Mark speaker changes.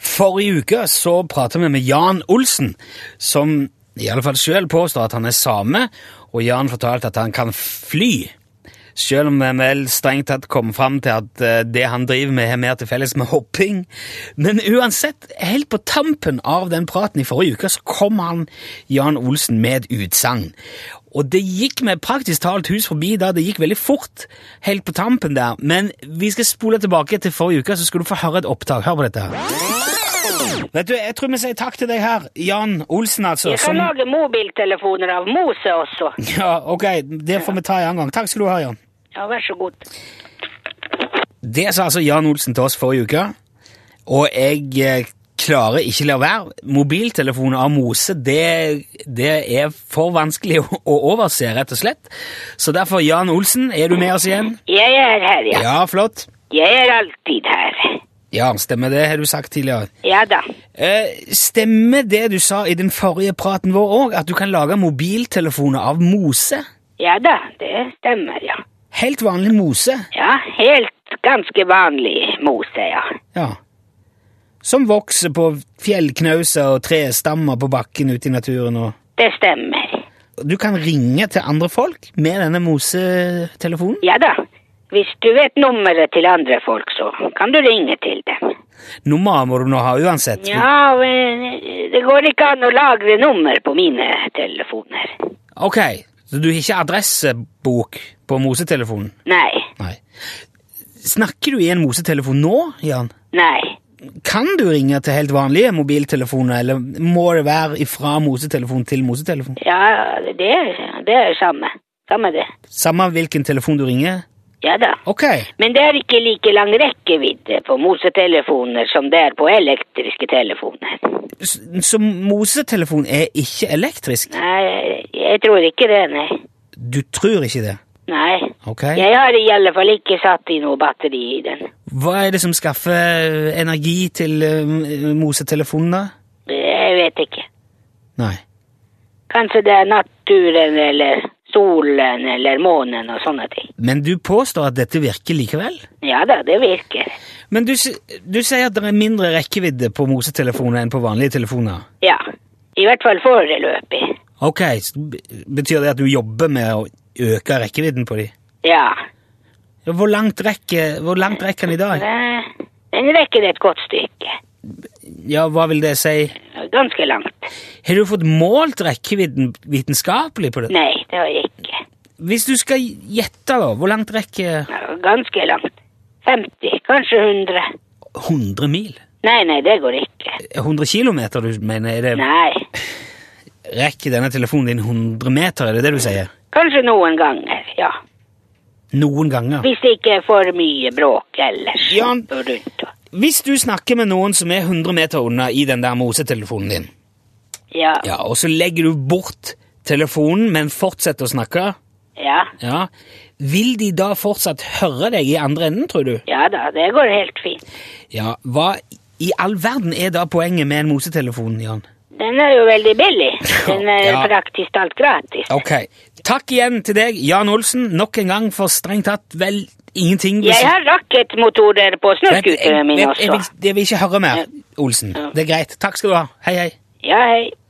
Speaker 1: Forrige uke så pratet vi med Jan Olsen, som i alle fall selv påstår at han er same, og Jan fortalte at han kan fly. Selv om vi vel strengt tatt kom fram til at eh, det han driver med har mer til felles med hopping. Men uansett, helt på tampen av den praten i forrige uke, så kom han Jan Olsen med et utsagn. Og det gikk med praktisk talt hus forbi da, det gikk veldig fort helt på tampen der. Men vi skal spole tilbake til forrige uke, så skal du få høre et opptak. Hør på dette her. Vet du, Jeg tror vi sier takk til deg her, Jan Olsen, altså.
Speaker 2: Jeg
Speaker 1: som-
Speaker 2: kan lage mobiltelefoner av mose også.
Speaker 1: ja, ok, Det får vi ta en annen gang. Takk skal du ha, Jan.
Speaker 2: Ja, vær så god.
Speaker 1: Det sa altså Jan Olsen til oss forrige uke, og jeg eh, klarer ikke la være. Mobiltelefoner av mose, det, det er for vanskelig å, å overse, rett og slett. Så derfor, Jan Olsen, er du med oss igjen?
Speaker 2: Jeg er her, ja.
Speaker 1: Ja, flott.
Speaker 2: Jeg er alltid her.
Speaker 1: Ja, stemmer det, har du sagt tidligere.
Speaker 2: Ja da.
Speaker 1: Eh, stemmer det du sa i den forrige praten vår òg, at du kan lage mobiltelefoner av mose?
Speaker 2: Ja da, det stemmer, ja.
Speaker 1: Helt vanlig mose?
Speaker 2: Ja, helt ganske vanlig mose, ja.
Speaker 1: Ja. Som vokser på fjellknauser og trestammer på bakken ute i naturen. og...
Speaker 2: Det stemmer.
Speaker 1: Du kan ringe til andre folk med denne mosetelefonen.
Speaker 2: Ja da. Hvis du vet nummeret til andre folk, så kan du ringe til dem.
Speaker 1: Nummeret må du nå ha uansett.
Speaker 2: Ja, men det går ikke an å lagre nummer på mine telefoner.
Speaker 1: Ok, så du har ikke adressebok på mosetelefonen?
Speaker 2: Nei,
Speaker 1: Nei. Snakker du i en mosetelefon nå, Jan?
Speaker 2: nei.
Speaker 1: Kan du ringe til helt vanlige mobiltelefoner, eller må det være ifra mosetelefon til mosetelefon?
Speaker 2: Ja, det er det er samme. Samme det.
Speaker 1: Samme hvilken telefon du ringer?
Speaker 2: Ja da.
Speaker 1: Ok,
Speaker 2: Men det er ikke like lang rekkevidde på mosetelefoner som det er på elektriske telefoner.
Speaker 1: så, så mosetelefon er ikke elektrisk?
Speaker 2: Nei, jeg tror ikke det, nei.
Speaker 1: Du tror ikke det?
Speaker 2: Nei.
Speaker 1: Ok.
Speaker 2: Jeg har i alle fall ikke satt i noe batteri i den.
Speaker 1: Hva er det som skaffer energi til eh, mosetelefonen, da?
Speaker 2: Jeg vet ikke.
Speaker 1: Nei.
Speaker 2: Kanskje det er naturen eller solen eller månen og sånne ting.
Speaker 1: Men du påstår at dette virker likevel?
Speaker 2: Ja da, det virker.
Speaker 1: Men du, s- du sier at det er mindre rekkevidde på mosetelefoner enn på vanlige telefoner.
Speaker 2: Ja. I hvert fall foreløpig.
Speaker 1: Ok, så b- Betyr det at du jobber med å øke rekkevidden på de?
Speaker 2: Ja.
Speaker 1: Ja, Hvor langt rekker, hvor langt rekker den i dag?
Speaker 2: Eh, Den rekker et godt stykke.
Speaker 1: Ja, Hva vil det si?
Speaker 2: Ganske langt.
Speaker 1: Har du fått målt rekkevidden vitenskapelig på det?
Speaker 2: Nei, det har jeg ikke.
Speaker 1: Hvis du skal gjette, da, hvor langt rekker
Speaker 2: Ganske langt. 50, kanskje 100.
Speaker 1: 100 mil?
Speaker 2: Nei, nei, det går ikke.
Speaker 1: 100 kilometer, du mener? Er det,
Speaker 2: Nei.
Speaker 1: rekker denne telefonen din 100 meter, er det det du sier?
Speaker 2: Kanskje noen ganger, ja.
Speaker 1: Noen ganger?
Speaker 2: Hvis det ikke er for mye bråk ellers.
Speaker 1: Jan.
Speaker 2: og Rundt. og-
Speaker 1: Hvis du snakker med noen som er 100 meter unna i den der mosetelefonen din,
Speaker 2: Ja,
Speaker 1: ja,
Speaker 2: ja.
Speaker 1: og så legger du bort telefonen, men fortsetter å snakke,
Speaker 2: ja.
Speaker 1: ja, vil de da fortsatt høre deg i andre enden, tror du?
Speaker 2: da, det går helt fint.
Speaker 1: Ja, hva i all verden er da poenget med en mosetelefon, Jan?
Speaker 2: Den er jo veldig billig. Den er
Speaker 1: Ja.
Speaker 2: praktisk talt gratis.
Speaker 1: Ok, takk igjen til deg, Jan Olsen, nok en gang for strengt tatt vel ingenting.
Speaker 2: Jeg har rakettmotorer på
Speaker 1: Vent, jeg,
Speaker 2: eh,
Speaker 1: eh,
Speaker 2: snøscooterne mine
Speaker 1: jeg, jeg,
Speaker 2: også.
Speaker 1: vil, jeg vil ikke høre mer, Olsen.
Speaker 2: Ja.
Speaker 1: Det er greit. Takk skal du ha. Hei, hei.
Speaker 2: Ja, hei.